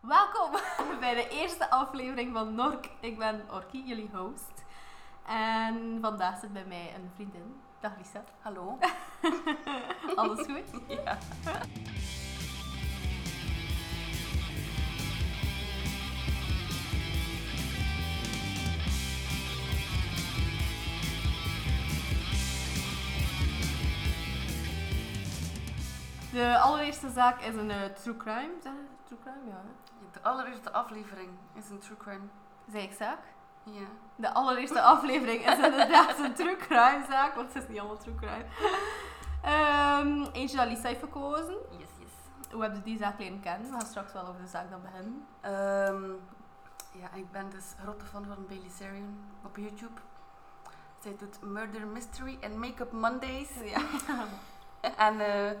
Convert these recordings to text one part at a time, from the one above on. Welkom bij de eerste aflevering van Nork. Ik ben Orkie, jullie host. En vandaag zit bij mij een vriendin. Dag Lisa. Hallo. Alles goed? Ja. De allereerste zaak is een eh, true crime. Zeg je True crime, ja. hè? De allereerste aflevering is een true crime. Zeg ik zaak? Ja. De allereerste aflevering is inderdaad een true crime zaak, want het is niet allemaal true crime. Ehm, eentje dat Lisa heeft gekozen. Yes, yes. Hoe heb je die zaak leren kennen? We gaan straks wel over de zaak dan beginnen. Ehm, ja, ik ben dus grote fan van Bailey Sarian op YouTube. Zij doet Murder Mystery en Make-up Mondays. Ja. En eh,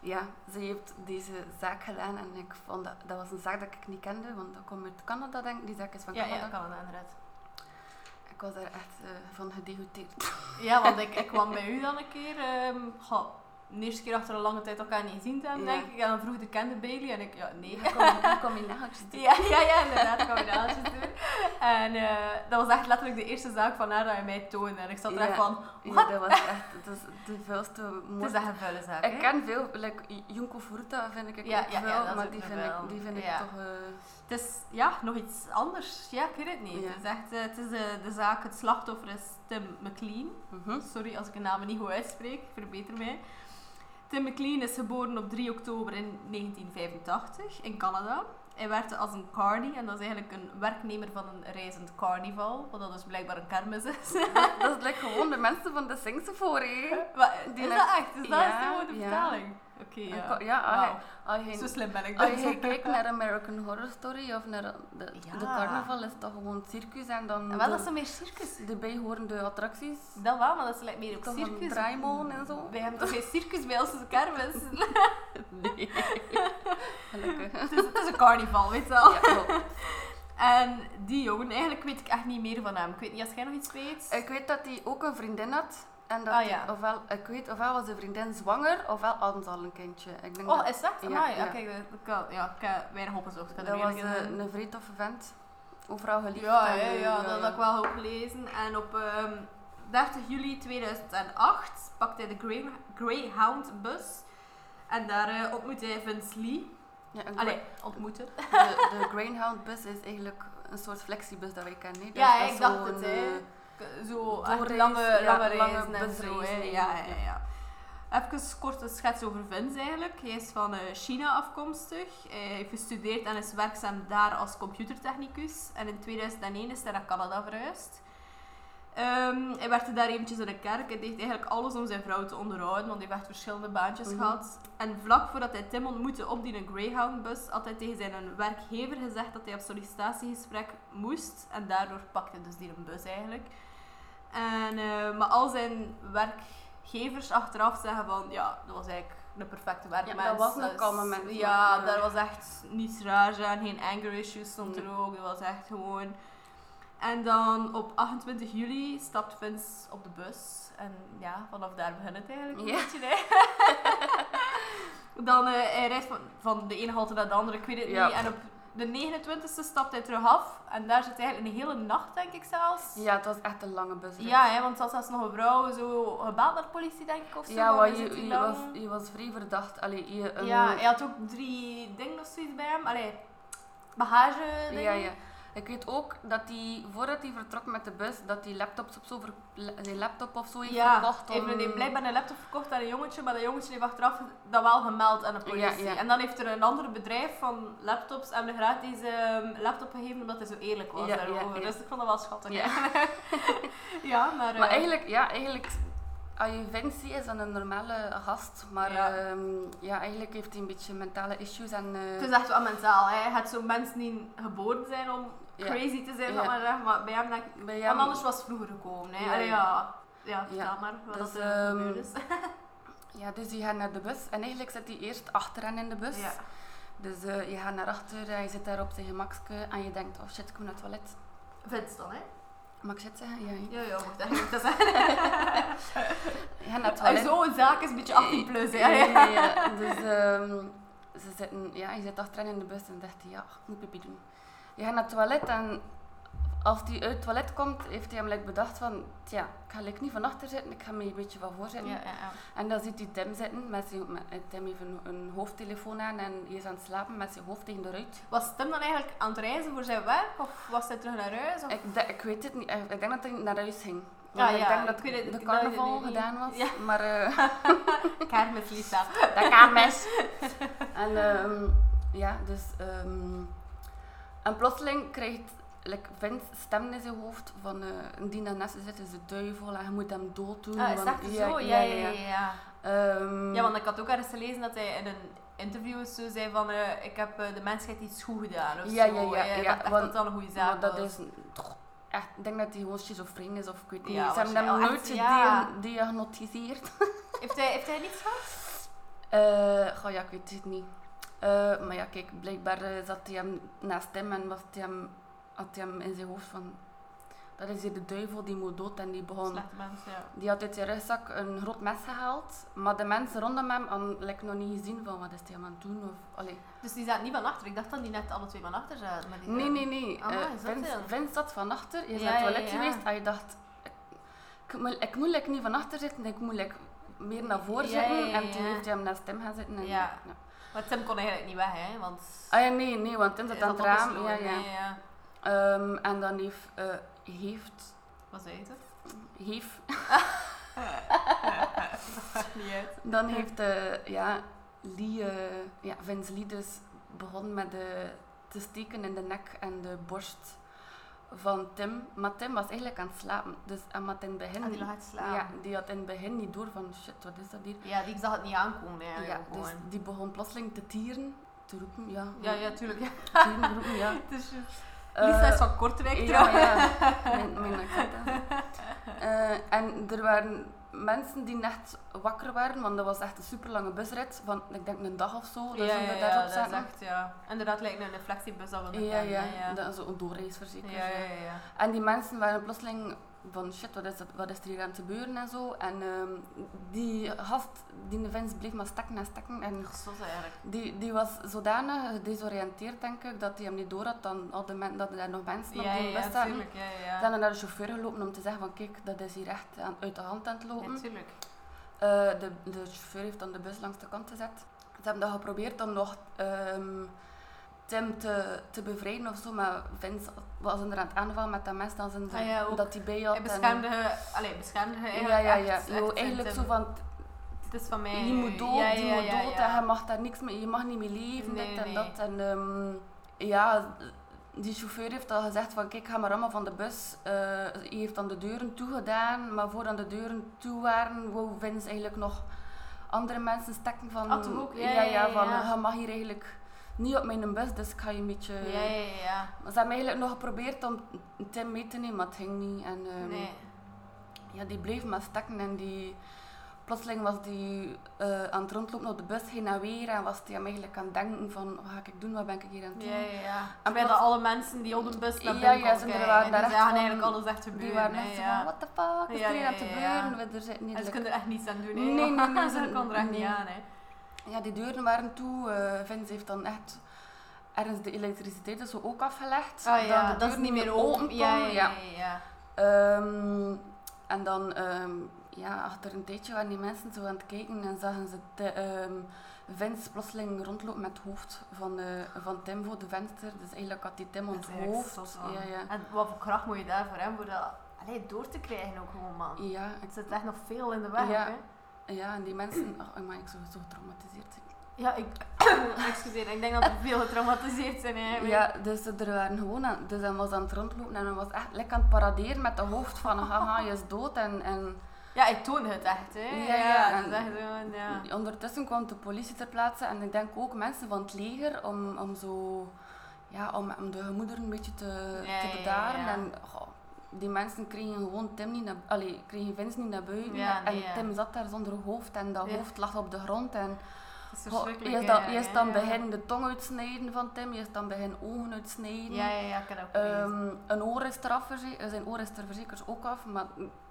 ja, ze heeft deze zaak gedaan en ik vond dat, dat was een zaak dat ik niet kende, want dat komt uit Canada denk ik. Die zaak is van Ja, Canada. ja, kan inderdaad. Ik was daar echt eh, van gedegoteerd. Ja, want ik, ik kwam bij u dan een keer. ehm, goh, de eerste keer achter een lange tijd elkaar niet gezien te hebben, Ja. denk ik. En dan vroeg de kende Bailey en ik, ja, nee. Ik kom, ik kom in nageltjes doen. Ja, ja, ja, inderdaad, combinaties doen. En eh, dat was echt letterlijk de eerste zaak van haar dat hij mij toonde. En ik zat er echt Ja. van, Ja, Wat? dat was echt dat is de vuilste het moord is echt een vuile zaak, Ik hè? ken veel, like Junko Furuta vind ik Ja, ook ja, ja, wel, dat is maar ook die nog vind, wel. ik, die vind Ja. ik toch... eh, Het is ja, nog iets anders. Ja, ik weet het niet. Ja. Het is echt eh, het is, eh, de zaak, het slachtoffer is Tim McLean. Sorry als ik de namen niet goed uitspreek, verbeter mij. Tim McLean is geboren op 3 oktober in 1985 in Canada. Hij werkte als een carny en dat is eigenlijk een werknemer van een reizend carnival, wat dat dus blijkbaar een kermis is. dat, dat is like gewoon de mensen van de Singsefoor, hè. Maar, Die is dat lijkt- echt? Is dat ja, gewoon de ja. vertaling? Oké, En ja. ko- Ja, als Wauw. je- als je- Zo slim ben ik als dan. je kijkt naar American Horror Story of naar de, Ja. de carnaval, is toch gewoon circus en dan En wel, dat de, is dan meer circus. de bijhorende attracties. Dat wel, maar dat is lijkt meer op Toch een circus. draaimolen en zo? Wij hebben toch geen circus bij ons als kermis? Nee. Gelukkig. het, is, Dus het is een carnaval, weet je wel. Ja, klopt. En die jongen, eigenlijk weet ik echt niet meer van hem. Ik weet niet, als jij nog iets weet? Ik weet dat hij ook een vriendin had. En dat Ah, die- ja. ofwel, ik weet, ofwel was de vriendin zwanger, ofwel hadden ze al een kindje. Ik denk Oh, dat, is dat? Ja, Amai, Ja, ja. kijk, dat- dat kan, ja, ik heb weinig opgezocht. Ik heb dat er was weinig in eh, gezien. een vrij toffe vent. Overal geliefd. Ja, en, ja, eh, ja, dat had ik wel ook gelezen. En op ehm, 30 juli 2008 pakt hij de Grey, Greyhound bus. En daar eh, ontmoet hij Vince Lee. Ja, een Allee, ontmoeten. Grey- de, de Greyhound bus is eigenlijk een soort flexibus dat wij kennen. hè. Dus Ja, dat is ik dacht zo'n, het, eh, hè. K- Zo, echt doorreis, lange, ja, lange lange reizen en zo. hè. busreizen, Ja, ja. ja, ja. Even kort een schets over Vince eigenlijk. Hij is van eh, China afkomstig. Hij heeft gestudeerd en is werkzaam daar als computertechnicus. En in 2001 is hij naar Canada verhuisd. Ehm, hij werkte daar eventjes in een kerk. Hij deed eigenlijk alles om zijn vrouw te onderhouden, want hij heeft echt verschillende baantjes Mhm. gehad. En vlak voordat hij Tim ontmoette op die Greyhound-bus, had hij tegen zijn werkgever gezegd dat hij op sollicitatiegesprek moest. En daardoor pakte hij dus die een bus eigenlijk. En, eh, maar al zijn werkgevers achteraf zeggen van, ja, dat was eigenlijk een perfecte werkmens. Ja, dat was een is- kalme mens, Ja, ja. daar was echt niets raars aan, geen anger issues stond Nee. er ook. Dat was echt gewoon... En dan op 28 juli stapt Vince op de bus. En ja, vanaf daar begint het eigenlijk een Ja. beetje. Hè? dan eh, hij rijdt van, van de ene halte naar de andere, ik weet het Ja. niet. En op de 29e stapt hij terug af. En daar zit hij eigenlijk een hele nacht, denk ik zelfs. ja, het was echt een lange bus. Ja, hè, want dat was nog een vrouw zo gebeld naar de politie, denk ik, of zo. ja van, want "Is het je, hier je, lang?" was, je was vrij verdacht. Allee, je, eh, een- Ja, hij had ook drie dingen of zoiets bij hem. Allee, bagage dingen. Ja, ja. Ik weet ook dat hij, voordat hij vertrok met de bus, dat hij laptops op zo ver, la- zijn laptop of zo heeft Ja, verkocht. heeft om- een- heeft blijkbaar een laptop verkocht aan een jongetje, maar dat jongetje heeft achteraf dat wel gemeld aan de politie. Ja, ja. En dan heeft er een ander bedrijf van laptops aan de gratis ehm, laptop gegeven, omdat hij zo eerlijk was Ja, ja, daarover. ja. Dus ik vond dat wel schattig. Ja. ja maar... Maar eh, eigenlijk, ja, eigenlijk, als je vindt, zie, is dan een normale gast. Maar Ja. ja. ja, eigenlijk heeft hij een beetje mentale issues. En, eh, Het is echt wel mentaal. Hè. Het zou mensen niet geboren zijn om Ja. crazy te zijn, Ja. zal ik maar, zeggen, maar bij hem denk ik... bij Want hem- anders was het vroeger gekomen. Hè. Ja, Allee, ja. ja. Ja, vertel Ja. maar wat Dus, dat er ehm, gebeurd is. ja, dus je gaat naar de bus. En eigenlijk zit hij eerst achter hen in de bus. Ja. Dus eh, je gaat naar achter en je zit daar op zijn gemakske. En je denkt, oh shit, ik moet naar het toilet. Vindt dan, hè? Mag ik shit zeggen? Ja, ja. Ja, ja, moet eigenlijk dat zeggen. Je gaat naar het Ah, toilet. Eh, Zo'n zaak is een beetje 18 plus, hè? Ja, ja, ja. Dus ehm, ze zitten, ja, je zit achterin in de bus en dacht hij, ja, ik moet pipi doen. Je gaat naar het toilet en als hij uit het toilet komt, heeft hij hem like bedacht van, ja, ik ga like niet van achter zitten, ik ga me een beetje van voor zitten. Ja, ja, ja. En dan ziet hij Tim zitten, met zijn, met, eh, Tim heeft een, een hoofdtelefoon aan en hij is aan het slapen met zijn hoofd tegen de ruit. Was Tim dan eigenlijk aan het reizen voor zijn werk? Of was hij terug naar huis? Of... Ik, de- ik weet het niet. eh, Ik ik denk dat hij naar huis ging. Ja, Want ik Oh. Ah, ja, denk ik dat weet het- de ik weet het carnaval niet. gedaan was. Ja. Maar eh, Kaart met Lisa. dat kan mis. En ehm, ja, dus... ehm, en plotseling krijgt like, Vince stemmen in zijn hoofd van... eh indien dat naast je zit, is de duivel en je moet hem dood doen. Ah, is dat want- zo? Ja, ja, ja. ja. Ehm, Ja, want ik had ook ergens gelezen dat hij in een interview zo zei van eh, ik heb eh, de mensheid iets goed gedaan of Ja, zo. ja, ja, Eh, ja, ik dacht echt want- dat dat een goede maar zaak dat was. is... toch echt, ik denk dat hij gewoon schizofreen is of ik weet niet. Ja, Ze hebben hem waarschijnlijk. nooit Ja. gediag- gediagnosticeerd. Heeft hij, heeft hij niets gehad? Eh, goh, ja, ik weet het niet. Eh, maar ja, kijk, blijkbaar eh, zat hij hem naast hem en was hij hem, had hij hem in zijn hoofd van... Dat is hier de duivel, die moet dood en die begon... Slechte mensen, ja. Die had uit zijn rugzak een groot mes gehaald, maar de mensen rondom hem hadden like, nog niet gezien van wat is hij aan het doen of... Allee. Dus die zaten niet van achter. Ik dacht dat die net alle twee van achter zaten. Maar die Nee, nee, nee. Ah, Eh, is dat Vince, het? Vince zat van achter, je is Ja, naar het ja, toilet ja. geweest en je dacht... Ik, ik moet, ik moet like, niet van achter zitten, ik moet like, meer naar voren Ja, ja, zitten. ja, En toen ja. heeft hij hem naast hem gaan zitten en... Ja. Maar Tim kon eigenlijk niet weg, hè? Want Ah ja, nee, nee, want Tim zat aan het Hij zat raam. Ja, opgesloten. ja. Nee, ja. Ehm, en dan heeft, eh, heeft, Wat zei je toch? heeft, Niet uit. dan heeft, eh, ja, Lee, eh, ja, Vince Lee dus begon met de, te steken in de nek en de borst van Tim. Maar Tim was eigenlijk aan het slapen. Dus, en maar in het begin, Ah, die lag aan het slapen. Ja, die had in het begin niet door van, shit, wat is dat hier? Ja, die zag het niet aankomen eigenlijk. ja, gewoon. dus die begon plotseling te tieren, te roepen, ja. ja, ja, tuurlijk. ja. tieren, te roepen, ja. Het is- Lisa is Eh, van Kortrijk Ja, trouwens. ja. Mijn, mijn accent. hè. Eh, en er waren mensen die net wakker waren, want dat was echt een super lange busrit van, ik denk, een dag of zo. Dat ja, ze ja, er ja, daarop dat is zaten. echt, ja. Inderdaad, lijkt een reflectiebus al wel Ja, ja, ja. Dat is een doorreisverzekering. Ja, ja, ja, ja. En die mensen waren plotseling van shit, wat is, dat, wat is er hier aan het gebeuren en zo. En ehm, die gast, die vent bleef maar stakken en stakken. En Gezond eigenlijk. die, die was zodanig gedesoriënteerd, denk ik, dat hij hem niet door had dan al de men, dat er nog mensen Ja, op die ja, bus ja, zaten. tuurlijk. Ja, ja, Ze ja. zijn naar de chauffeur gelopen om te zeggen van kijk, dat is hier echt aan, uit de hand aan het lopen. Ja, tuurlijk. Eh, de, de chauffeur heeft dan de bus langs de kant gezet. Ze hebben dan geprobeerd om nog ehm, Tim te, te bevrijden of zo, maar Vince was er aan het aanvallen met dat mes dat, ze, Ah ja, ook. dat hij bij Hij had. en- beschermde, je- allee, beschermde je ja, eigenlijk ja, ja. echt- Je echt wou zijn eigenlijk Tim. zo van, Het is van mij je nu. moet dood, Ja, je ja, moet ja, dood ja. en je mag daar niks mee, je mag niet meer leven, Nee, dit en nee. dat. En ehm, ja, die chauffeur heeft al gezegd van kijk, ga maar allemaal van de bus. Eh, hij heeft dan de deuren toegedaan, maar voordat de deuren toe waren, wou Vince eigenlijk nog andere mensen stekken van... Ah, toch ook? Ja, ja, ja, ja, van ja. je mag hier eigenlijk niet op mijn bus, dus ik ga je een beetje... Ja, ja, ja. Maar Ze hebben eigenlijk nog geprobeerd om Tim mee te nemen, maar het ging niet. En, ehm, Nee. ja, die bleef maar stakken en die... Plotseling was die eh, aan het rondlopen op de bus heen en weer en was die hem eigenlijk aan het denken van wat ga ik doen, wat ben ik hier aan het doen. Ja, ja, ja. En Terwijl plots- alle mensen die op de bus naar Ja, binnen ja, komen ze kijken. waren En daar die echt zagen van- eigenlijk alles echt gebeuren. die waren hè, echt zo ja. van what the fuck, is Ja, er hier ja, aan het ja, gebeuren? We- Er zitten niet En ze lekker- kunnen er echt niets aan doen, hè. Nee, nee, nee, Ze ze- kon er echt nee. niet aan, hè. Ja, die deuren waren toe. eh Vince heeft dan echt ergens de elektriciteit dus ook afgelegd. Ah ja, de dat is deur niet meer open. kon. Ja, ja, ja, ja, ja. Ehm, en dan, ehm, ja, achter een tijdje waren die mensen zo aan het kijken en zagen ze de, ehm, Vince plotseling rondlopen met het hoofd van, eh, van Tim voor de venster. Dus eigenlijk had die Tim Dat is eigenlijk onthoofd. zot, man. Ja, ja. En wat voor kracht moet je daarvoor hebben, voor dat allee, door te krijgen ook gewoon, man. Ja, Het zit echt nog veel in de weg, Ja. hè. ik- ja, en die mensen... Oh, maar ik zo, zo getraumatiseerd. Ja, ik... Excuseer, ik denk dat we veel getraumatiseerd zijn, hè. Ja, dus er waren gewoon... Aan, dus hij was aan het rondlopen en hij was echt lekker aan het paraderen met het hoofd van haha, je is dood. En, en Ja, ik toon het echt, hè. Ja, Ja, ja, het is en- echt gewoon, ja. Ondertussen kwam de politie ter plaatse en ik denk ook mensen van het leger om, om zo... Ja, om, om de gemoederen een beetje te, Ja, te ja, bedaren. ja. En goh, die mensen kregen gewoon Tim niet naar... Allee, kregen Vince niet naar buiten. Ja, nee, en ja. Tim zat daar zonder hoofd en dat Ja. hoofd lag op de grond. En Het is goh, verschrikkelijk, eerst dan, hè, eerst ja, dan ja. begin de tong uitsnijden van Tim. Eerst dan begin ogen uitsnijden. Ja, ja, ja, ik kan ook lezen. Ehm, een oor is eraf verze- Zijn oor is er verzekers ook af. Maar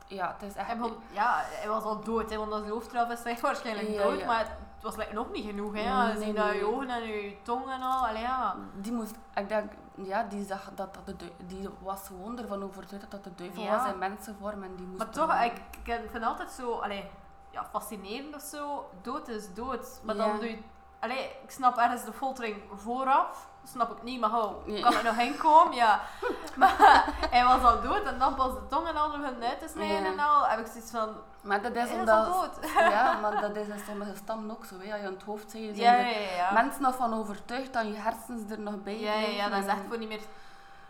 ja, het is echt... Hij begon- ja, hij was al dood, hè, want als de hoofd eraf is, is hij waarschijnlijk Ja, dood. ja. Maar was like, nog niet genoeg, hè? Ja, Nee, zien nee, dat nee. je ogen en je tong en al. Allee, ja. Die moest, ik denk, ja, die zag dat dat de duivel, die was gewoon ervan overtuigd dat dat de duivel Ja. was in mensenvorm en die moest... Maar toch, ik, ik vind het altijd zo, allee, ja, fascinerend of zo. Dood is dood. Maar Ja. dan doe je. Allee, ik snap ergens de foltering vooraf. Snap ik niet, maar hou, Nee. kan er nog heen komen? Ja. Maar hij was al dood en dan pas de tong en al hun uit te snijden Ja. en al. Heb ik zoiets van, Maar dat hij is is al omdat... dood. Ja, maar dat is in sommige stammen ook zo, hè. Als je in het hoofd zei, je Ja, zijn ja, er ja. ja. mensen nog van overtuigd dat je hersens er nog bij ja, ja, ja, dat is echt blijven. voor niet meer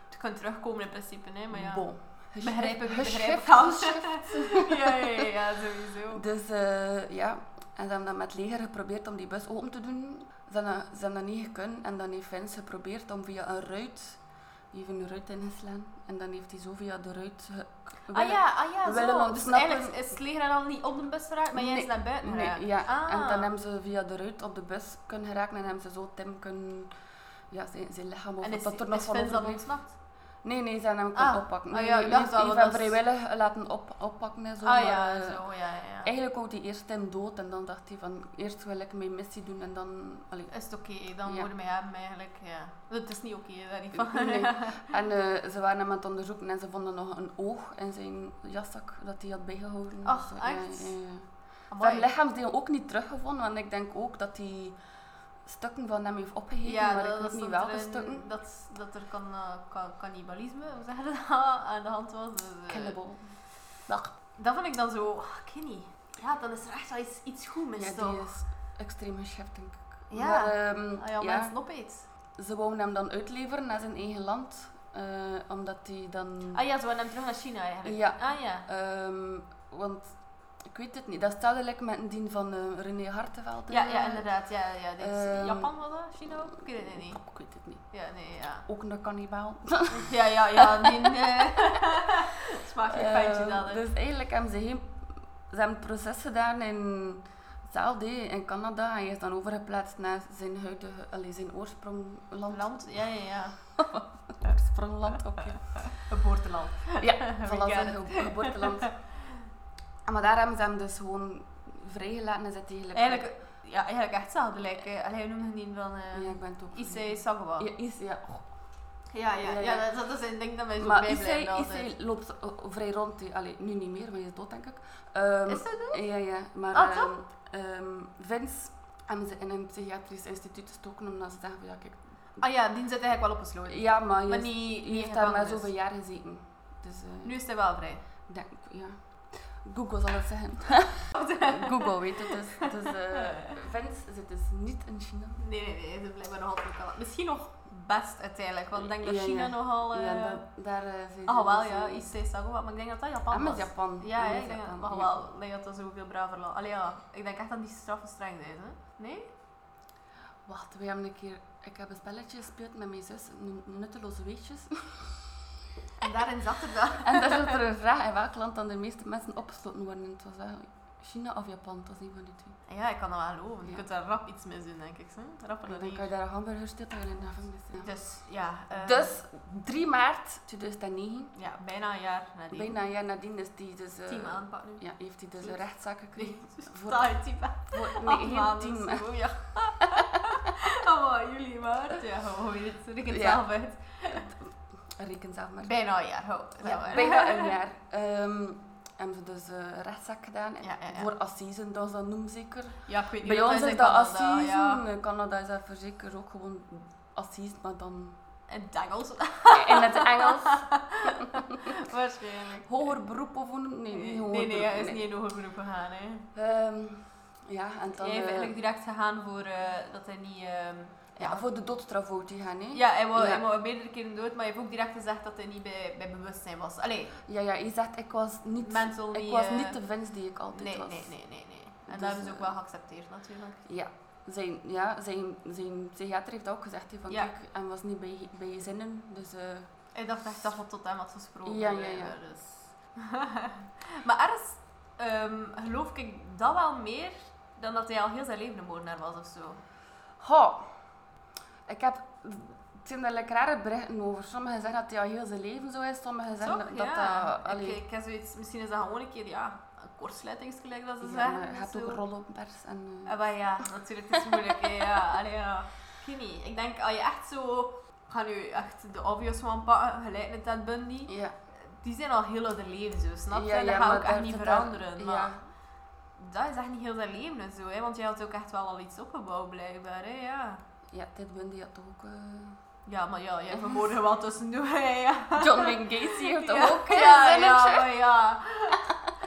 te kunnen terugkomen in principe. Hè, maar ja. Bon. Geschift- Begrijpen wie begrijpen geschift, kan. geschift. ja, ja, ja, ja, sowieso. Dus eh, ja, en ze hebben dan met het leger geprobeerd om die bus open te doen. Ze hebben, ze hebben dat niet gekund en dan heeft Vince geprobeerd om via een ruit, die heeft een ruit ingeslaan. En dan heeft hij zo via de ruit... ge- Ah ja, ah ja, we willen zo. Dus ontsnappen. eigenlijk is het leger en al niet op de bus geraakt, maar jij is Nee, naar buiten geraakt. Nee, ja. Ah. En dan hebben ze via de ruit op de bus kunnen geraken en hebben ze zo Tim kunnen... Ja, zijn, zijn lichaam of en wat is, dat er nog is van Vince dan overbleef. ontsnapt? Nee, nee, ze hebben hem Ah. kunnen oppakken. Ah Nee, ja, ik nee, dacht heeft- wel, heeft want dat hem is- vrijwillig laten op, oppakken en zo. ah maar, ja, eh, zo, ja, ja. ja. Eigenlijk wou hij eerst Tim dood en dan dacht hij van eerst wil ik mijn missie doen en dan. Allee. Is het oké, dan Ja. worden wij hem eigenlijk, ja. Het is niet oké, daar niet van. Nee. En eh, ze waren hem aan het onderzoeken en ze vonden nog een oog in zijn jaszak dat hij had bijgehouden. Ach, Dus, ja, echt? Ja, ja. Ze Amai. hebben lichaamsdeel ook niet teruggevonden, want ik denk ook dat hij stukken van hem heeft opgegeten, Ja, maar dat, ik weet dat niet stond welke erin stukken. Dat, dat er kan, eh, ka- cannibalisme, hoe zeg je dat, aan de hand was. Dus, eh, Cannibal. Dag. dat vond ik dan zo, ah, ik weet niet. Ja, dan is er echt wel iets, iets goed mis, Ja, die toch? is extreem geschift, denk ik. Ja. Maar, ehm, Ah ja, ja, mensen opeet. ze wouden hem dan uitleveren naar zijn eigen land, eh, omdat hij dan... Ah ja, ze wilden hem terug naar China eigenlijk. Ja. Ah ja. Ehm, want ik weet het niet, dat stelde ik met die van eh, René Hartenveld. eh, Ja, ja, inderdaad. Ja, ja, dit is- Ehm, Japan was dat? China ook? Ik weet het niet. Ik weet het niet. Ja, nee, ja. Ook een kannibaal. Ja, ja, ja. Die, eh smaak je feitje Ehm, dat. hè. dus eigenlijk hebben ze, geen, ze hebben het proces gedaan in hetzelfde, hè, in Canada. En hij is dan overgeplaatst naar zijn huidige, allee, zijn oorsprongland. Land? Ja, ja, ja. Oorsprongland, oké. Geboorteland. Ja, We voilà, get zijn gebo- geboorteland. En Maar daar hebben ze hem dus gewoon vrijgelaten en zit hij eigenlijk... Eigenlijk, ja, eigenlijk echt hetzelfde. Like, eh, allee, hoe noemde die van eh Ja, ik ben het ook Issei Sagawa? vergeten. Ja, is, ja. Oh, Ja, ja, Ja, ja, ja. dat, dat is een ding dat mij zo Maar bij Issei, blijft Issei altijd. loopt eh, vrij rond. die- Allee, nu niet meer, want hij is dood, denk ik. Ehm, Is dat zo? Ja, ja. Maar Ah, ehm, ehm, Vince hebben ze in een psychiatrisch instituut gestoken omdat ze zeggen van ja, kijk... Ah ja, die zit eigenlijk wel opgesloten. Ja, maar je, maar is- niet, je niet heeft daar maar gevangenis. zoveel jaar gezeten. Dus eh, Nu is hij wel vrij. ik denk, ja... Google zal het zeggen. Google weet het dus. dus eh, Vince zit dus niet in China. Nee, nee, nee, dat is blijkbaar nog altijd wel. Misschien nog best uiteindelijk, want ik denk dat Ja, China ja. nogal... eh, ja, da- daar eh, zijn Ah, wel dus, ja, eh, Issei Sagawa, maar ik denk dat dat Japan En met was. Japan. Ja, En hè, met ik denk dat, Japan, maar ja. wel, ik denk dat dat zoveel braver lag. Allee ja, ik denk echt dat die straffen streng zijn, hè? Nee? Wacht, we hebben een keer... Ik heb een spelletje gespeeld met mijn zus, nu- Nutteloze Weetjes. En daarin zat er dat. En daar zat er een vraag in welk land dan de meeste mensen opgesloten worden. En het was wel China of Japan, het was niet van die twee. En Ja, ik kan dat wel geloven. Je Ja. kunt daar rap iets mee doen, denk ik. Hè? Rapper En dan dan niet. kan je daar een hamburger stilt en in de gevangenis zitten. Dus ja. eh, Dus 3 maart 2009, Ja, bijna een jaar nadien. bijna een jaar nadien, is die dus, eh, Team aanpak nu. ja, heeft hij dus een Klopt. rechtszaak gekregen. Nee, Voor, taai team. voor, Acht nee, geen maanden team. of zo, ja. Oh, maar jullie maart. Ja, gewoon weer het rekent Ja. zelf uit. Reken zelf maar. Bijna een jaar, nou, ho. Ja, bijna nou- een jaar. Ehm, hebben ze dus eh, een rechtszaak gedaan. Ja, ja, ja. Voor assisen, dat is dat noem zeker. Ja, ik weet niet Bij wat ons dat is dat in assisen. Canada, ja. In Canada is dat voor zeker ook gewoon assisen, maar dan En dangels. in het Engels. Waarschijnlijk. Hoger beroep of hoe noem- Nee, niet hoger nee, nee, beroep. hij is niet in hoger beroep gegaan. Hè. Ehm, ja, en Jij dan... heeft eh, eigenlijk direct gegaan voor eh, dat hij niet. ehm, ja, voor de doodstraf wou die gaan, hè. Hm? ja, hij wou, Ja. hij wou meerdere keren dood, maar je heeft ook direct gezegd dat hij niet bij, bij bewustzijn was. Allee, Ja, ja, je zegt, ik was niet... mental ik niet, was eh, niet de Vince die ik altijd nee, was. nee, nee, nee, nee. En Dus, dat hebben ze ook eh, wel geaccepteerd natuurlijk. Ja. Zijn, ja, zijn, zijn psychiater heeft ook gezegd, hè, van Ja. kijk, hij was niet bij, bij je zinnen, dus... eh, Ik dacht echt dat we tot hem had gesproken. Ja, ja, ja. blijkbaar, Dus. maar ergens ehm, geloof ik dat wel meer dan dat hij al heel zijn leven een moordenaar was of zo. Ho. Ik heb... Het zijn daar lekker rare berichten over. Sommigen zeggen dat hij al heel zijn leven zo is, sommigen zeggen Toch? dat ja. dat... allee, ik, ik heb zoiets, misschien is dat gewoon een keer, ja, kortsluiting, gelijk dat ze Ja, zeggen. maar je Dus hebt zo. ook rollenpers en... eh, Ah, maar ja, natuurlijk, het is moeilijk. hè, ja. Allee, ja. Ik weet niet. Ik denk, als je echt zo... Ik ga nu echt de obvious van pakken, gelijk met Ted Bundy. ja. Die zijn al heel uit hun leven, zo, snap je? Ja, dat ja, gaat maar ook echt daar- niet daar- veranderen. ja. maar dat is echt niet heel zijn leven en zo, hè. Want jij had ook echt wel al iets opgebouwd, blijkbaar, hè. Ja, Ja, Ted Bundy had toch ook... eh, ja maar ja, jij vermoorde wel tussendoor, hè. Ja. John Wayne Gacy heeft toch ook eh, Ja, zijn ja, shit? maar ja.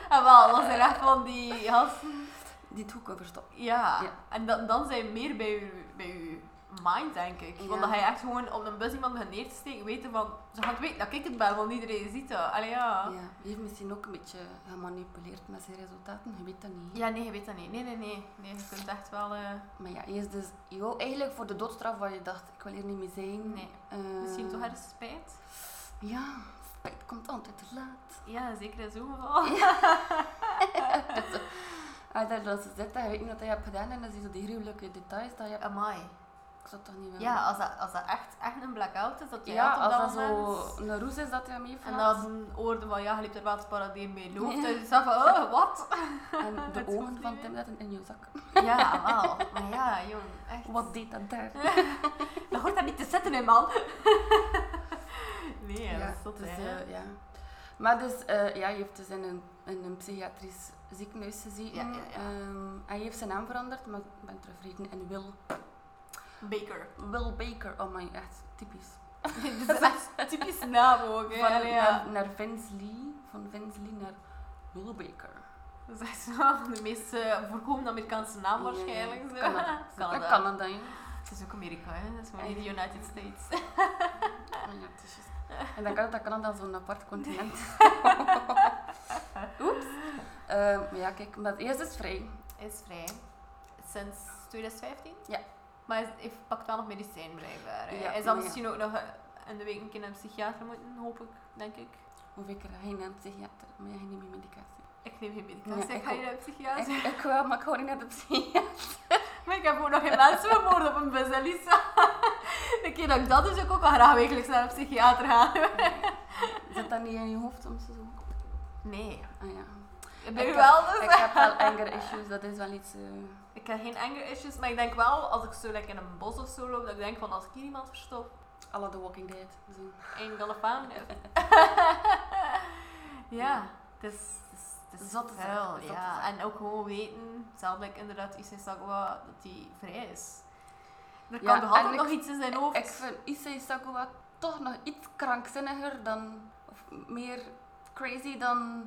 En wel, dat zijn echt van die gasten. Die het ook overstopt. Ja, Ja. en dan, dan zijn we meer bij je, bij je mind, denk ik. Ja. Want dan ga je echt gewoon op een bus iemand gaan neer te steken, weten van... Ze gaan het weten dat ik het ben, want iedereen ziet dat. Allee, ja. Ja. ja. Die heeft misschien ook een beetje gemanipuleerd met zijn resultaten. Je weet dat niet. nee, je weet dat niet. Nee, nee, nee. Nee, je kunt echt wel... eh, Maar ja, je, is dus, je wou eigenlijk voor de doodstraf waar je dacht, ik wil hier niet meer zijn. Nee. Eh, Misschien toch ergens spijt? Ja, spijt komt altijd te laat. Ja, zeker in zo'n geval. Hij Ah, daar dan ze zitten, hij weet niet wat hij hebt gedaan en dan zie je zo die gruwelijke details dat je hebt. Amai. Ik zou het toch niet willen. Ja, als dat, als dat echt, echt een blackout is, dat jij Ja, had op als dat, dat moment... zo een roes is dat hij hem heeft En gehad. dan hoorde van, ja, je liep er wel het paradijs mee loopt. Ja. En je zegt van, oh, wat? En de Het hoeft ogen niet van meer. Tim zitten in je zak. Ja, wel. Maar ja, jong, echt. Wat deed dat daar? Dat hoort daar niet te zitten, hè, man. nee, ja, dat is zot, dus, hè. eh, ja. Maar dus, eh, ja, hij heeft dus in een, in een psychiatrisch ziekenhuis gezeten. Ja, ja, ja. Ehm, hij heeft zijn naam veranderd, maar ik ben tevreden. En Will, Baker. Will Baker, oh my, echt typisch. Dit is echt een typische naam ook, hè. Van, Allee, ja. naar, naar Vince Lee, van Vince Lee naar Will Baker. Dat is echt wel de meest eh, voorkomende Amerikaanse naam waarschijnlijk. zo. Ja, Canada. Canada. Ja, Canada, ja. Het is ook Amerika, hè. Dat is gewoon niet de United States. Ja, het is juist. En dan kan het dat Canada zo'n apart continent. Oeps. Eh, maar ja, kijk, maar eerst is vrij. Is vrij. Sinds 2015? Ja. Maar hij hij pakt wel nog medicijn blijkbaar. hè. Ja, hij zal ja. misschien ook nog eh, in de week een keer naar een psychiater moeten, hoop ik, denk ik. Hoef ik er geen naar de psychiater, maar jij neemt je medicatie. Ik neem geen medicatie, Ja, ik ik ga niet ook. naar een psychiater. Ik, ik wel, maar ik ga niet naar de psychiater. Maar ik heb ook nog geen mensen vermoord op een bus, hè, Lisa. De keer dat ik dat doe, zou ik ook al graag wekelijks naar een psychiater gaan. Zit dat niet in je hoofd soms zo? Nee. Ah ja. Ik Ik ben heb- wel dus. Ik heb wel anger issues, dat is wel iets... eh, Ik heb geen anger issues, maar ik denk wel, als ik zo lekker in een bos of zo loop, dat ik denk van, als ik hier iemand verstop, à la The Walking Dead. Zo. één gallefaan. ja, het is... Het is het is Zotte zaak, vuil, zotte ja. zaak. En ook gewoon weten, zelf like, inderdaad Issei Sagawa, dat hij vrij is. Er Ja, kan toch altijd en ik- nog iets in zijn hoofd. Ik vind Issei Sakura toch nog iets krankzinniger dan... Of meer crazy dan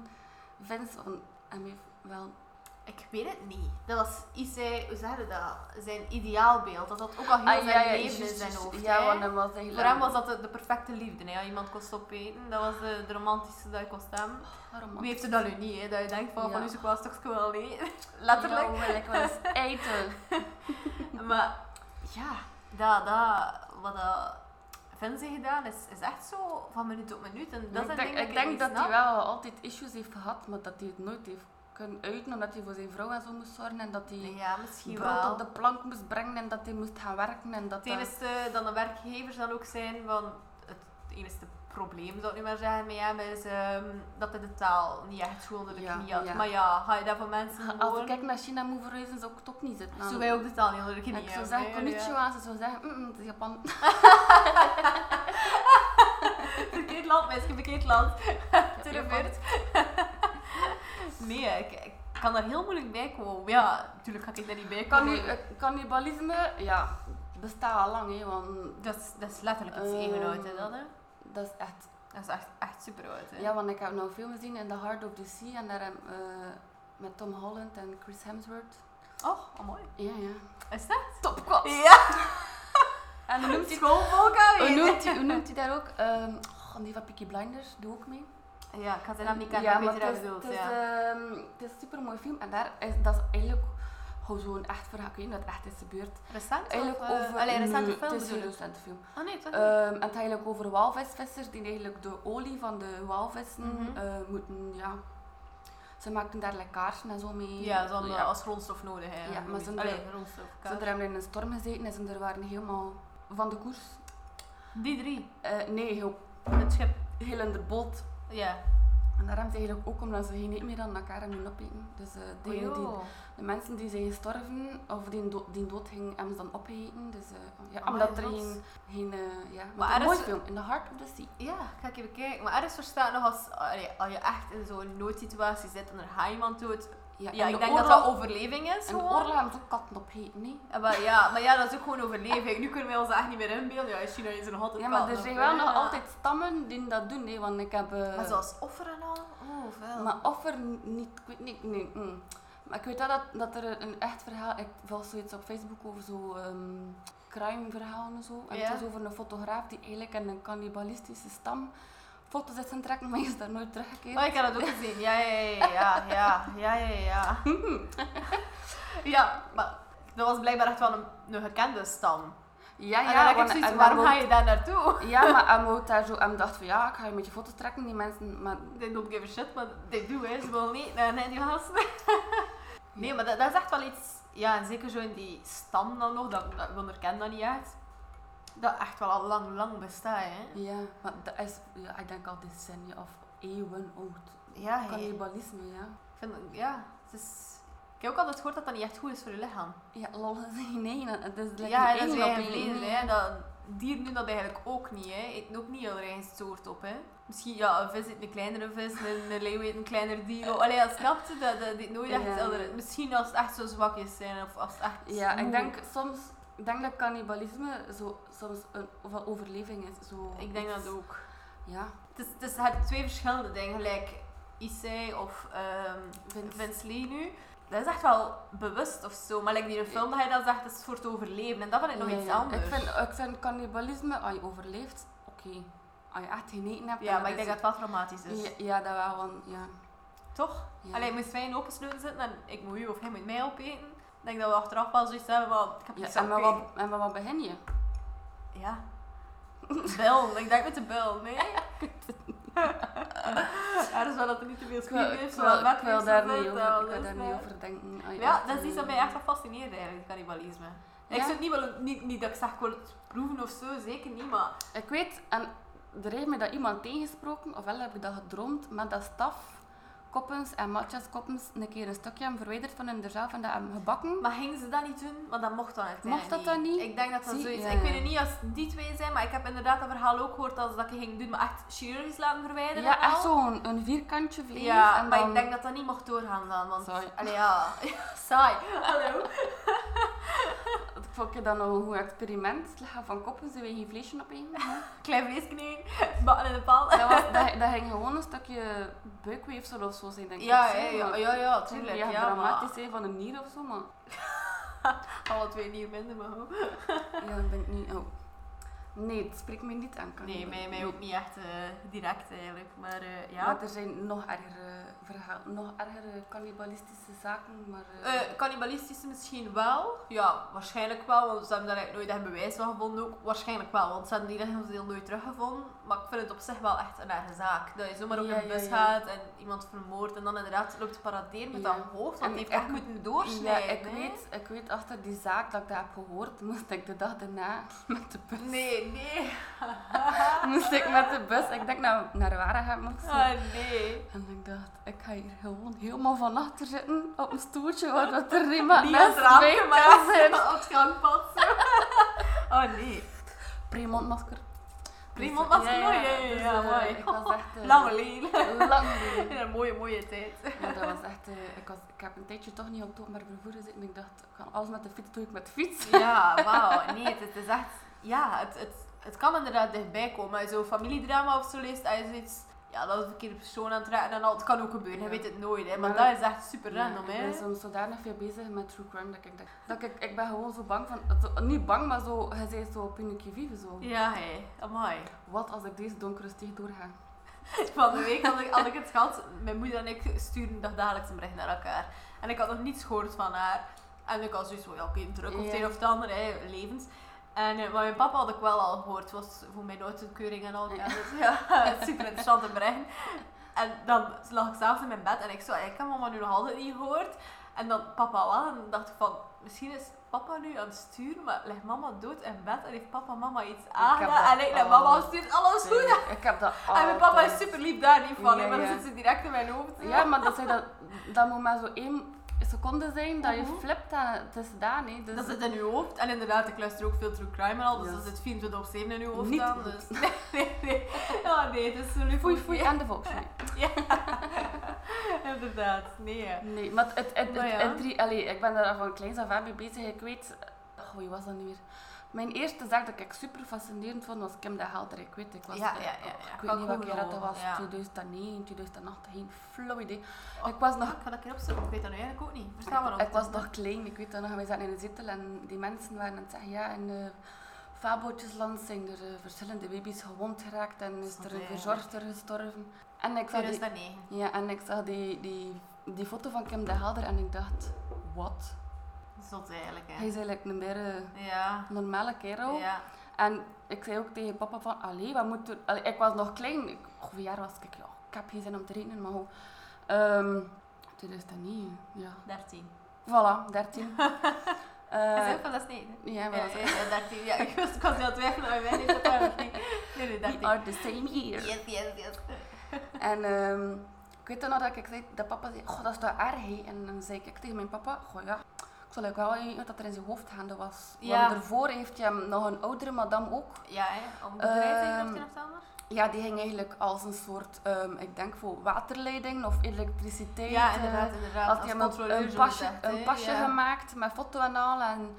Vince. Want hij heeft wel... Ah, Ik weet het niet. Dat was Issei, hoe zeg je dat? Zijn ideaalbeeld. Dat had ook al heel zijn leven Ah, juist, in zijn juist. hoofd. Ja, hè. want hij was eigenlijk... Voor hem was dat de, de perfecte liefde. Hè? Ja, Iemand kon stopeten. Dat was de, de romantische dat ik kon staan. Romantisch. Wie heeft er dat nu niet? Hè? Dat je denkt van, Ja. van nu is ik wel een stukje wel alleen. Letterlijk. Ja, wil ik wel eens eten. Maar ja, dat, dat, wat dat Vince heeft gedaan is, is echt zo van minuut op minuut. En dat ik is denk, het ik ding denk niet dat hij snap. wel altijd issues heeft gehad, maar dat hij het nooit heeft kunnen uiten, omdat hij voor zijn vrouw en zo moest zorgen en dat hij Ja, misschien brood wel. op de plank moest brengen en dat hij moest gaan werken en dat Het enige dat de werkgevers dan ook zijn van het enige probleem zou ik nu maar zeggen met hem is ehm, dat hij de taal niet echt goed onder de Ja, knie had. ja. Maar ja, ga je dat van mensen dat- Als ik horen? kijk naar China moet verhuizen, zou ik het ook niet zitten. Zo wij ook de taal niet onder de knie En ik zou hebben, zeggen, hè, ja. konnichiwa, en ze zou zeggen, mm, mm, het is Japan. Verkeerd land, mensen, verkeerd land. Ja, Te Japan. reveerd. Nee, ik, ik kan daar heel moeilijk bij komen. Maar Ja, natuurlijk ga ik daar niet bij komen. Canni- eh, Cannibalisme, ja, bestaat al lang, hè, want Dat is, dat is letterlijk iets Ehm. even oud, hè, dat, hè. dat is echt... Dat is echt, echt super oud, hè. Ja, want ik heb nou een film gezien in The Heart of the Sea en daar eh, met Tom Holland en Chris Hemsworth. Oh, oh, mooi. Ja, ja. Is dat? Top kwats. Ja, En hoe noemt hij schoolvolk aan Hoe weten. noemt hij- hoe noemt hij daar ook? Ehm, oh, die van Peaky Blinders doe ook mee. Ja, ik had zijn naam niet kennen, Ja, ik weet maar wie het dat is, bedoelt. het is, ja. ehm, het is een super mooi film. En daar is, dat is eigenlijk gewoon zo'n echt verhaal. Ik weet niet wat echt is gebeurd. Recent? Eigenlijk of, eh, over... allee, recente nee, film Het is een bedoel ik. recente film. Oh nee, toch niet? Ehm, en het gaat eigenlijk over walvisvissers die eigenlijk de olie van de walvissen Mhm. eh, moeten... Ja, ze maakten daar lekkage en zo mee. ja, ze hadden Ja. als grondstof nodig. Hè, Ja, maar ze- Allee, grondstof. Ze kaas. hebben in een storm gezeten en ze waren helemaal van de koers. Die drie. Eh, nee, heel, Het schip. heel in de boot. Ja. En daarom is het eigenlijk ook omdat ze geen eten meer aan elkaar hebben opeten. Dus eh, Oh, degenen die, Ojo. de mensen die zijn gestorven of die, do die dood gingen, hebben ze dan opgegeten. Dus, eh, ja, Amai, omdat er wat? geen... geen eh, ja, Oh Maar maar een er mooie is- film, In the Heart of the Sea. Ja, ga ik even kijken. Maar ergens verstaat nog als, allee, als je echt in zo'n noodsituatie zit en er gaat iemand dood. Ja, Ja, en ik de denk dat oorlog- dat overleving is. En de gewoon. oorlog hebben ze ook katten opgegeten, nee? Ja, maar, ja, maar ja, dat is ook gewoon overleving. Nu kunnen wij ons echt niet meer inbeelden. Ja, in China is er nog altijd Ja, maar katten er op, zijn hè. wel nog eh, Ja. altijd stammen die dat doen, nee, want ik heb... eh, Maar zoals offer en al? Oh, veel. Maar offer niet, ik weet niet, nee. mm. Maar ik weet wel dat, dat er een echt verhaal, ik volg zoiets op Facebook over zo ehm crime verhalen en zo. En Ja. het is over een fotograaf die eigenlijk in een cannibalistische stam foto's heeft gaan trekken, maar hij is daar nooit teruggekeerd. Oh, ik heb dat ook gezien. Ja, ja, ja, ja, ja, ja, ja, ja. Ja, ja maar dat was blijkbaar echt wel een, een gekende stam. Ja, En Ah, ja, Ah, dan heb ik want- zoiets, en waarom dan ga ook- je daar naartoe? Ja, maar hij wou daar zo, hij dacht van ja, ik ga je met je foto's trekken, die mensen, maar... They don't give a shit, maar they do, hè. Ze willen niet naar die gasten. Nee, maar dat, dat is echt wel iets... Ja, en zeker zo in die stam dan nog, dat, dat, ik onderken dat niet echt. Dat echt wel al lang, lang bestaat, hè. Ja, maar dat is, ja, ik denk al decennia of eeuwen oud. Ja, hè. Cannibalisme, ja. Ik vind, dat- ja, het is... Ik heb ook altijd gehoord dat dat niet echt goed is voor je lichaam. Ja, lol, dat is geen nee, dat is like ja, een dat is één op eigen één, vlees, nee. hè. Dat, dieren doen dat eigenlijk ook niet, hè. Eten ook niet heel eigen soort op, hè. Misschien, ja, een vis eet een kleinere vis, een, een leeuw eet een kleiner dier. Allee, dat snapt je, dat, dat eet nooit echt Ja. andere... Misschien als het echt zo zwakjes zijn, of als het echt Ja, ik moe- denk soms ik denk dat cannibalisme zo, soms een over- overleving is. Zo Ik denk dat ook. Ja, Het is, het is het twee verschillende dingen, gelijk Issei of ehm Vince. Vince Lee nu. Dat is echt wel bewust of zo, maar like die in een film dat hij dat zegt, dat is voor het overleven. En dat vind ik nog Ja, iets ja. anders. Ik vind, ik vind cannibalisme, als je overleeft, oké. Als je echt geneten hebt. ja, en maar ik denk dat is- het wel traumatisch is. Ja, ja, dat wel, want ja. Toch? ja. Alleen moest wij in opgesloten zitten en ik moet u of hij moet mij opeten. Ik denk dat we achteraf wel zoiets hebben van, ik heb Ja, iets en, met opgegeten. wat, en met wat begin je? Ja. Bel, ik denk met de bel, nee? Ja, dat is wel dat er niet te veel Ik spier wil, heeft. ik zowel wil, ik wil wegweefsel daar zit, niet over, wel, ik wil dus, daar eh. niet over denken. als je Ja, echt, dat is iets dat eh, mij echt wel fascineert eigenlijk, cannibalisme. Ik Ja. zou het niet, willen, niet, niet dat ik zeg, ik wil het proeven of zo, zeker niet, maar... Ik weet, en er heeft me dat iemand tegengesproken, ofwel heb ik dat gedroomd, maar dat staf, koppens en matjes koppens een keer een stukje hebben verwijderd van hun zelf en dat hebben gebakken. Maar gingen ze dat niet doen? Want dat mocht dan uiteindelijk Mocht dat dan niet? Ik denk dat dat Zie- zoiets... ja. Ik weet het niet als die twee zijn, maar ik heb inderdaad dat verhaal ook gehoord als dat je ging doen, maar echt chirurgisch laten verwijderen Ja, en al. echt zo'n een vierkantje vlees. Ja, en maar dan- ik denk dat dat niet mocht doorgaan dan, want... Saai. Allee, ja. Saai. Hallo. Ik vond het dan nog een goed experiment. Het lichaam van koppen, ze willen geen vleesje opeten. Klein vleesknie, bakken in de paal. dat, was, dat, dat ging gewoon een stukje buikweefsel of zo zijn, denk Ja, ik. hè, zo, ja, maar- ja, ja, tuurlijk. Tuurlijk, Ja, maar... dramatisch hè, van een nier of zo, maar Alle twee niet minder, maar... goed. ja, dat ben ik niet. Oh. Nee, het spreekt me niet aan. kan Nee, ik- mij, mij ook niet echt eh, direct eigenlijk. Maar eh, ja. Maar er zijn nog ergere verhalen, nog ergere cannibalistische zaken, maar... eh, Eh, cannibalistische misschien wel. Ja, waarschijnlijk wel, want ze hebben daar eigenlijk nooit echt bewijs van gevonden ook. Waarschijnlijk wel, want ze hebben die lichaamsdeel nooit teruggevonden. Maar ik vind het op zich wel echt een erge zaak. Dat je zomaar op Ja, een ja, bus ja. gaat en iemand vermoordt en dan inderdaad loopt te paraderen met Ja. dat hoofd. Want En die heeft ik- echt moeten ja, doorsnijden. ik hè. weet, ik weet achter die zaak dat ik dat heb gehoord, moest ik de dag daarna met de bus. Nee, nee. moest ik met de bus, ik denk naar, naar Waregem of zo. Ah, nee. En ik dacht, ik ga hier gewoon helemaal van achter zitten op een stoeltje, waar dat er niemand Die naast is raam mij kan gemaakt zijn. op het gangpad. zo. Oh nee. Premondmasker. Premondmasker, Dus, eh, ja, ja, ja, dus, ja, eh, mooi. Ik was echt... eh, Lange leen. Lang In een mooie, mooie tijd. Maar dat was echt... eh, ik, was, ik heb een tijdje toch niet op het openbaar vervoer gezeten. En ik dacht, ik kan alles met de fiets, doe ik met de fiets. Ja, wauw. Nee, het, het is echt... Ja, het, het, het kan inderdaad dichtbij komen. Als je zo'n familiedrama of zo leest, als je zoiets... Ja, dat is een verkeerde persoon aan het raken en al. Het kan ook gebeuren, je Ja. weet het nooit. Hè. Maar Maar dat is echt super random, Ja, hè. Ik ben soms zodanig veel bezig met true crime dat ik denk... Dat ik, ik ben gewoon zo bang van... zo- niet bang, maar zo... Je zei zo op je vive zo. Ja, hé. Amai. Wat als ik deze donkere steeg doorga? Van de week had ik, had ik het gehad. Mijn moeder en ik sturen dag dagelijks een bericht naar elkaar. En ik had nog niets gehoord van haar. En ik had zoiets van, ja, oké, druk of het Ja. een of het ander, hè, levens. En, eh, maar mijn papa had ik wel al gehoord. Het was voor mijn uitkeuring en al. Ja, dus, ja, super interessante berichten. En dan lag ik s'avonds in mijn bed en ik zo, ik heb mama nu nog altijd niet gehoord. En dan papa wel. En dan dacht ik van, Misschien is papa nu aan het sturen, maar ligt mama dood in bed en heeft papa en mama iets dat aangedaan. En ik naar mama altijd. stuurt alles goed. Nee, ik heb dat En mijn papa Ah, is super lief daar niet van, Ja, hè, maar dan ja. zit ze direct in mijn hoofd. Ja, maar dat, zeg dat, dat moet maar zo één seconde zijn dat je Mhm. flipt en het is gedaan. hè. Dus Dat zit in uw hoofd. En inderdaad, ik luister ook veel true crime en al, dus Ja. dat zit 24 op 7 in uw hoofd Niet aan. goed. Dus. Nee, nee, nee. Oh nee, het is zo leuk. foei foei aan de volkslied. Inderdaad, nee. hè. Nee, maar het, het, het, Maar ja. het drie, allee, ik ben daar van kleins af aan mee bezig. Ik weet, oh, wie was dat nu weer? Mijn eerste zaak dat ik super fascinerend vond was Kim de Helder. Ik weet, ik was, Ja, eh, ja, ja, ja. ik Kan weet niet ik welke ook keer dat dat nog, was, ja. 2009, 2008, geen flauw idee. Ik was nog Ah, ik ga dat keer opzoeken, ik weet dat nu eigenlijk ook niet. Verstaan we dat? ik was nog klein, ik weet dat nog, wij zaten in de zetel en die mensen waren aan het zeggen, ja, in eh Fabeltjesland zijn er eh, verschillende baby's gewond geraakt en is Snap er een je, verzorgster gestorven. En ik zag, die, 2009. ja, en ik zag die, die, die foto van Kim de Helder en ik dacht, wat? Zot eigenlijk, Hij hè. is eigenlijk een meer eh, Ja. normale kerel. Ja. En ik zei ook tegen papa van, allee, wat moet er... Allee, ik was nog klein, ik, hoeveel jaar was ik? Ik, Ja, ik heb geen zin om te rekenen, maar hoe... Ehm 2009, ja. 13. Voilà, 13. Hij is Eh, ook van dat sneden. Ja, Ja, wel. ja, ja, 13. Ja, ik was ik was heel aan het twijfelen, maar wij weten het wel nog niet. Nee, nee, We 13. are the same here. Yes, yes, yes. En ehm, ik weet dan nog dat ik zei dat papa zei, goh, dat is toch erg hè?" En dan zei ik tegen mijn papa, goh ja, ik zal ook wel weten wat dat er in zijn hoofd gaande was. Ja. Want daarvoor heeft hij hem nog een oudere madame ook. Ja, hè. Om bedrijf Ehm, of het ander? Ja, die ging eigenlijk als een soort, ehm, ik denk voor waterleiding of elektriciteit. Ja, eh, inderdaad, inderdaad. Had hij hem als een, controleur, een zo pasje, gezegd, hè. een pasje Ja. gemaakt met foto en al. En,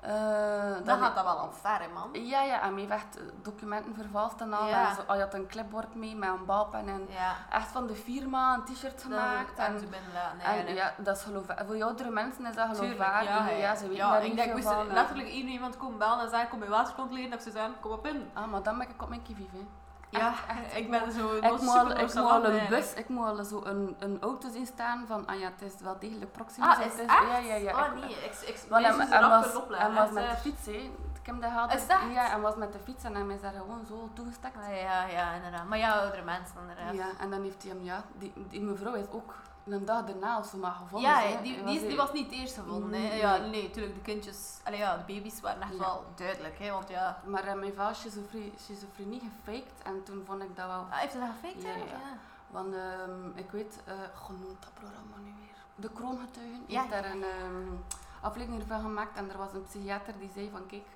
eh, Dan gaat dat wel al ver, hè, man. Ja, ja, en mee werd eh, documenten vervalst en al. Ja. En zo, hij had een clipboard mee met een balpen en Ja. echt van de firma een t-shirt gemaakt. en en, ze binnen laten, en eigenlijk. ja, dat is geloofwaardig. Voor oudere mensen is dat Tuurlijk, geloofwaardig. ja, ja. ze weten Ja, daar ik niet denk, veel moest er van. letterlijk één iemand komen bellen en zeggen, kom je waterkant leren? Dat ze zeggen, kom op in. Ah, maar dan ben ik op mijn kivief, hè. Ja, ik ben zo Ik moet, al, ik moet al een bus. bus, ik moet al zo een, een auto zien staan van, ah ja, het is wel degelijk Proximus. Ah, of is het is- echt? Ja, ja, ja. Ah, ik- nee, ik, ik, Want deze hij, is hij eraf was, kunnen hij opleggen. was hè, met de zeg. fiets, hè. Ik heb dat gehad. Is dat? Ja, hij was met de fiets en hij is daar gewoon zo toegestakt. Ah, ja, ja, inderdaad. Maar ja, oudere mensen, inderdaad. Ja, Ja, en dan heeft hij hem, ja, die, die mevrouw is ook een dag daarna of zo maar gevonden. ja hè. die, die, Hij is- die was niet het eerste gevonden. hè. Nee. Ja, nee, natuurlijk, de kindjes, allee, ja, de baby's waren echt Ja. wel duidelijk, hè, want ja... Maar eh, mijn vader schizofrenie, schizofrenie gefaked en toen vond ik dat wel... Ah, heeft hij dat gefaked Ja, eigenlijk? ja. Ja. Want ehm, ik weet, eh goh, noem dat programma nu weer. De Kroongetuigen Ja, heeft ja, daar een ehm, aflevering van gemaakt en er was een psychiater die zei van kijk,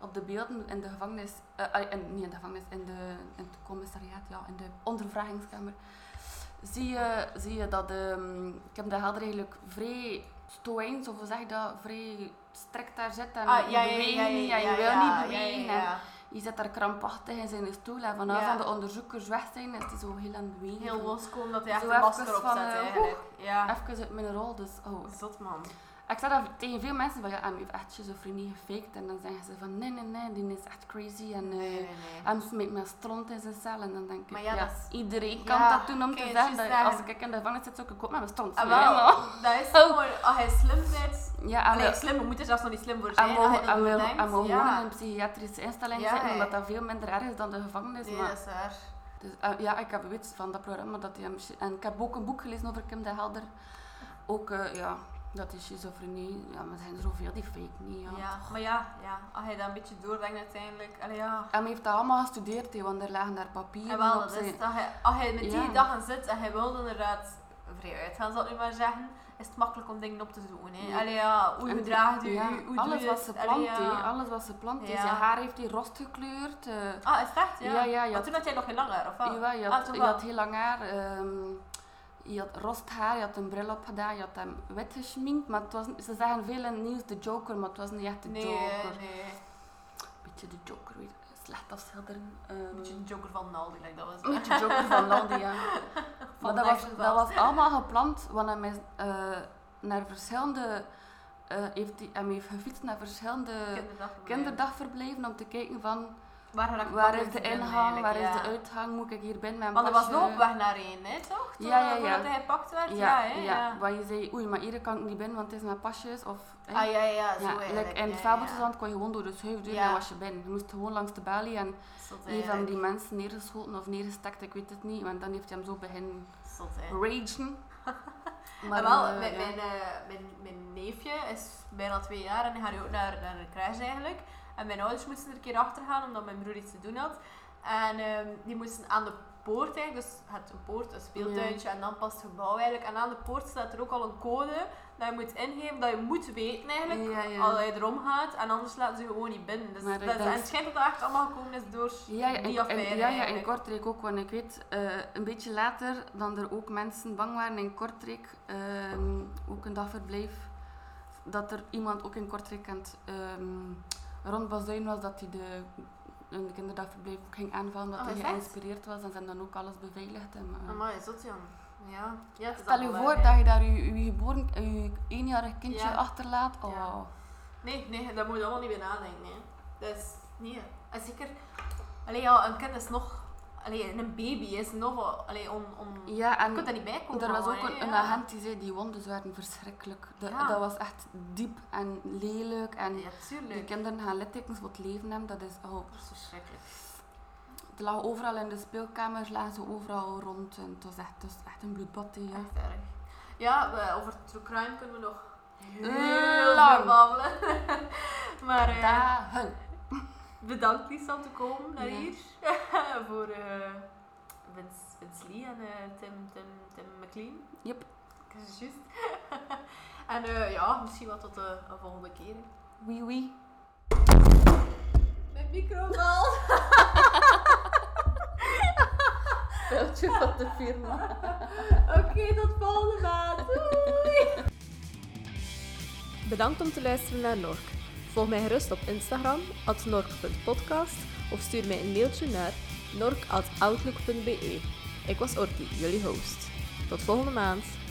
op de beelden in de gevangenis, eh, ah, in- niet in de gevangenis, in, de, in het commissariaat, ja, in de ondervragingskamer, zie je, zie je dat ehm, Kim de Helder eigenlijk vrij stoïns, of hoe zeg je dat, vrij strikt daar zit en Ah, je ja, ja, beweegt ja, ja, niet en je ja, wil ja, niet bewegen. ja, ja, ja. En je zit daar krampachtig in zijn stoel en vanaf Ja. dat de onderzoekers weg zijn, is hij zo heel aan het bewegen. Heel loskomen dat hij Zo echt een even masker van, opzet, eh, eigenlijk. Ja, Even uit mijn rol, dus oh. zot man. Ik zeg dat tegen veel mensen van ja, Em heeft echt schizofrenie gefaked. En dan zeggen ze van nee, nee, nee, die is echt crazy. En Nee, nee, eh nee. Em smijt mijn stront in zijn cel. En dan denk ik, Maar ja, ja, dat is- iedereen kan Ja, dat doen om oké, te het zeggen is dat daar- als ik in de gevangenis zit, zou ik ook met mijn stront Ah, smijten. wel, Oh. Ah, dat is gewoon, als hij slim bent... Ja, en Allee, we- slim, we moeten zelfs nog niet slim voor en zijn. als hij we- dat en we doet, en we denkt, gewoon ja. in een psychiatrische instelling Ja, zitten, hè. omdat dat veel minder erg is dan de gevangenis. Nee, maar- dat is waar. Dus, eh, ja, ik heb weet van dat programma dat hij hem... En ik heb ook een boek gelezen over Kim de Helder. Ook, eh, ja, dat is schizofrenie. Ja, maar er zijn er zoveel die fake niet, ja. Ja. Maar ja, ja, als hij dat een beetje doordenkt uiteindelijk. Allee, ja. En hij heeft dat allemaal gestudeerd, hè, want er lagen daar En papieren Ah, wel, op dat zijn... is dat hij, als hij met die Ja. dagen zit en hij wil inderdaad vrij uitgaan, zal ik nu maar zeggen, is het makkelijk om dingen op te doen. Hè. Ja. Allee, ja, hoe En- gedraagt u, ja, hoe, hoe doe alles je wat het? ze Allee, plant, ja. hè, alles wat ze plant. hè. Ja. Zijn haar heeft hij rost gekleurd. eh Ah, is het echt? Ja. Ja, ja, ja. Maar toen had jij nog geen langer, of wel? jawel, je, Ah, had, toch je wel. had heel lang haar. ehm, je had rost haar, je had een bril op gedaan, je had hem wit geschminkt. Maar het was, ze zeggen veel in het nieuws de Joker, maar het was niet echt de Nee, eh, Joker. nee. beetje de Joker weer slecht afschilderen. ehm, Een beetje een joker van Naldi, like dat was een beetje Joker van Landia. ja. maar dat was, Nigel dat Vast. was allemaal gepland, want hij is, eh, naar verschillende... eh, heeft hij, hij heeft gefietst naar verschillende Kinderdag. kinderdagverblijven om te kijken van Waar, raak ik waar makkelijk is de binnen ingang, waar eigenlijk, is de ja. uitgang, moet ik hier binnen met een Want er was pasje? nog op weg naar één, hè, toch? Toen, Ja, ja, ja. Voordat hij gepakt werd? Ja, Ja, hè? ja, Ja. waar je zei, oei, maar hier kan ik niet binnen, want het is mijn pasjes. Of, hè. Ah, ja, ja, zo Ja, eigenlijk. like in ja, het ja. Fabeltjesland kon je gewoon door de schuifdeur Ja. en was je binnen. Je moest gewoon langs de balie en Zot Een van eigenlijk. die mensen neergeschoten of neergestakt, ik weet het niet, want dan heeft hij hem zo begin Zot, hè. ragen. Maar, wel, eh, mijn, ja. mijn, eh, mijn, mijn neefje is bijna twee jaar en die gaat nu ook naar, naar een crash eigenlijk. En mijn ouders moesten er een keer achter gaan omdat mijn broer iets te doen had. En ehm, die moesten aan de poort eigenlijk, dus het een poort, een speeltuintje en dan pas het gebouw eigenlijk. En aan de poort staat er ook al een code dat je moet ingeven, dat je moet weten eigenlijk. eh, Ja, ja. Als je erom gaat en anders laten ze je gewoon niet binnen. Dus Maar dat, ik en denk- het schijnt dat dat echt allemaal gekomen is door Ja, ja, en, die en- affaire. ja, ja, in eigenlijk. Kortrijk ook, want ik weet eh, een beetje later dan er ook mensen bang waren in Kortrijk, ehm, ook een dagverblijf, dat er iemand ook in Kortrijk aan het ehm, rondbazuin was dat hij de, een kinderdagverblijf ook ging aanvallen, dat Oh, hij is echt? geïnspireerd was en ze hebben dan ook alles beveiligd. En, eh, Amai, zot Jan. Ja. ja het is Stel je allemaal waar, hè. voor dat je daar je, je geboren, je eenjarig kindje Ja. achterlaat. Oh. Ja. Nee, nee, daar moet je allemaal niet bij nadenken. Hè. Dat is niet. En zeker, allee, ja, een kind is nog. Allee, een baby is nog. Allee, on, on, Ja, en je kunt daar niet bij komen. Er was ook allemaal, een, hè, een ja. agent die zei, die wondes waren verschrikkelijk. Dat, Ja. dat was echt diep en lelijk. En Ja, die tuurlijk. kinderen gaan littekens wat leven hebben, dat is hulp. Dat is verschrikkelijk. Het lag overal in de speelkamers, lagen ze overal rond. En het was echt, het was echt een bloedbad. hè, Ja. Echt erg. Ja, we- over true crime kunnen we nog Heel heel lang lang. babbelen. maar eh, Dagen. bedankt Lisa om te komen naar Ja. hier. Voor eh Vince, Vince Lee en eh, Tim, Tim, Tim McLean. Yep. Dat is juist. en eh, ja, misschien wel tot de een volgende keer. hè. Wee wee. Mijn microbal. Veldje van de firma. Oké, tot volgende maand. Doei. Bedankt om te luisteren naar Nork. Volg mij gerust op Instagram, at nork.podcast, of stuur mij een mailtje naar nork.outlook.be. Ik was Orki, jullie host. Tot volgende maand.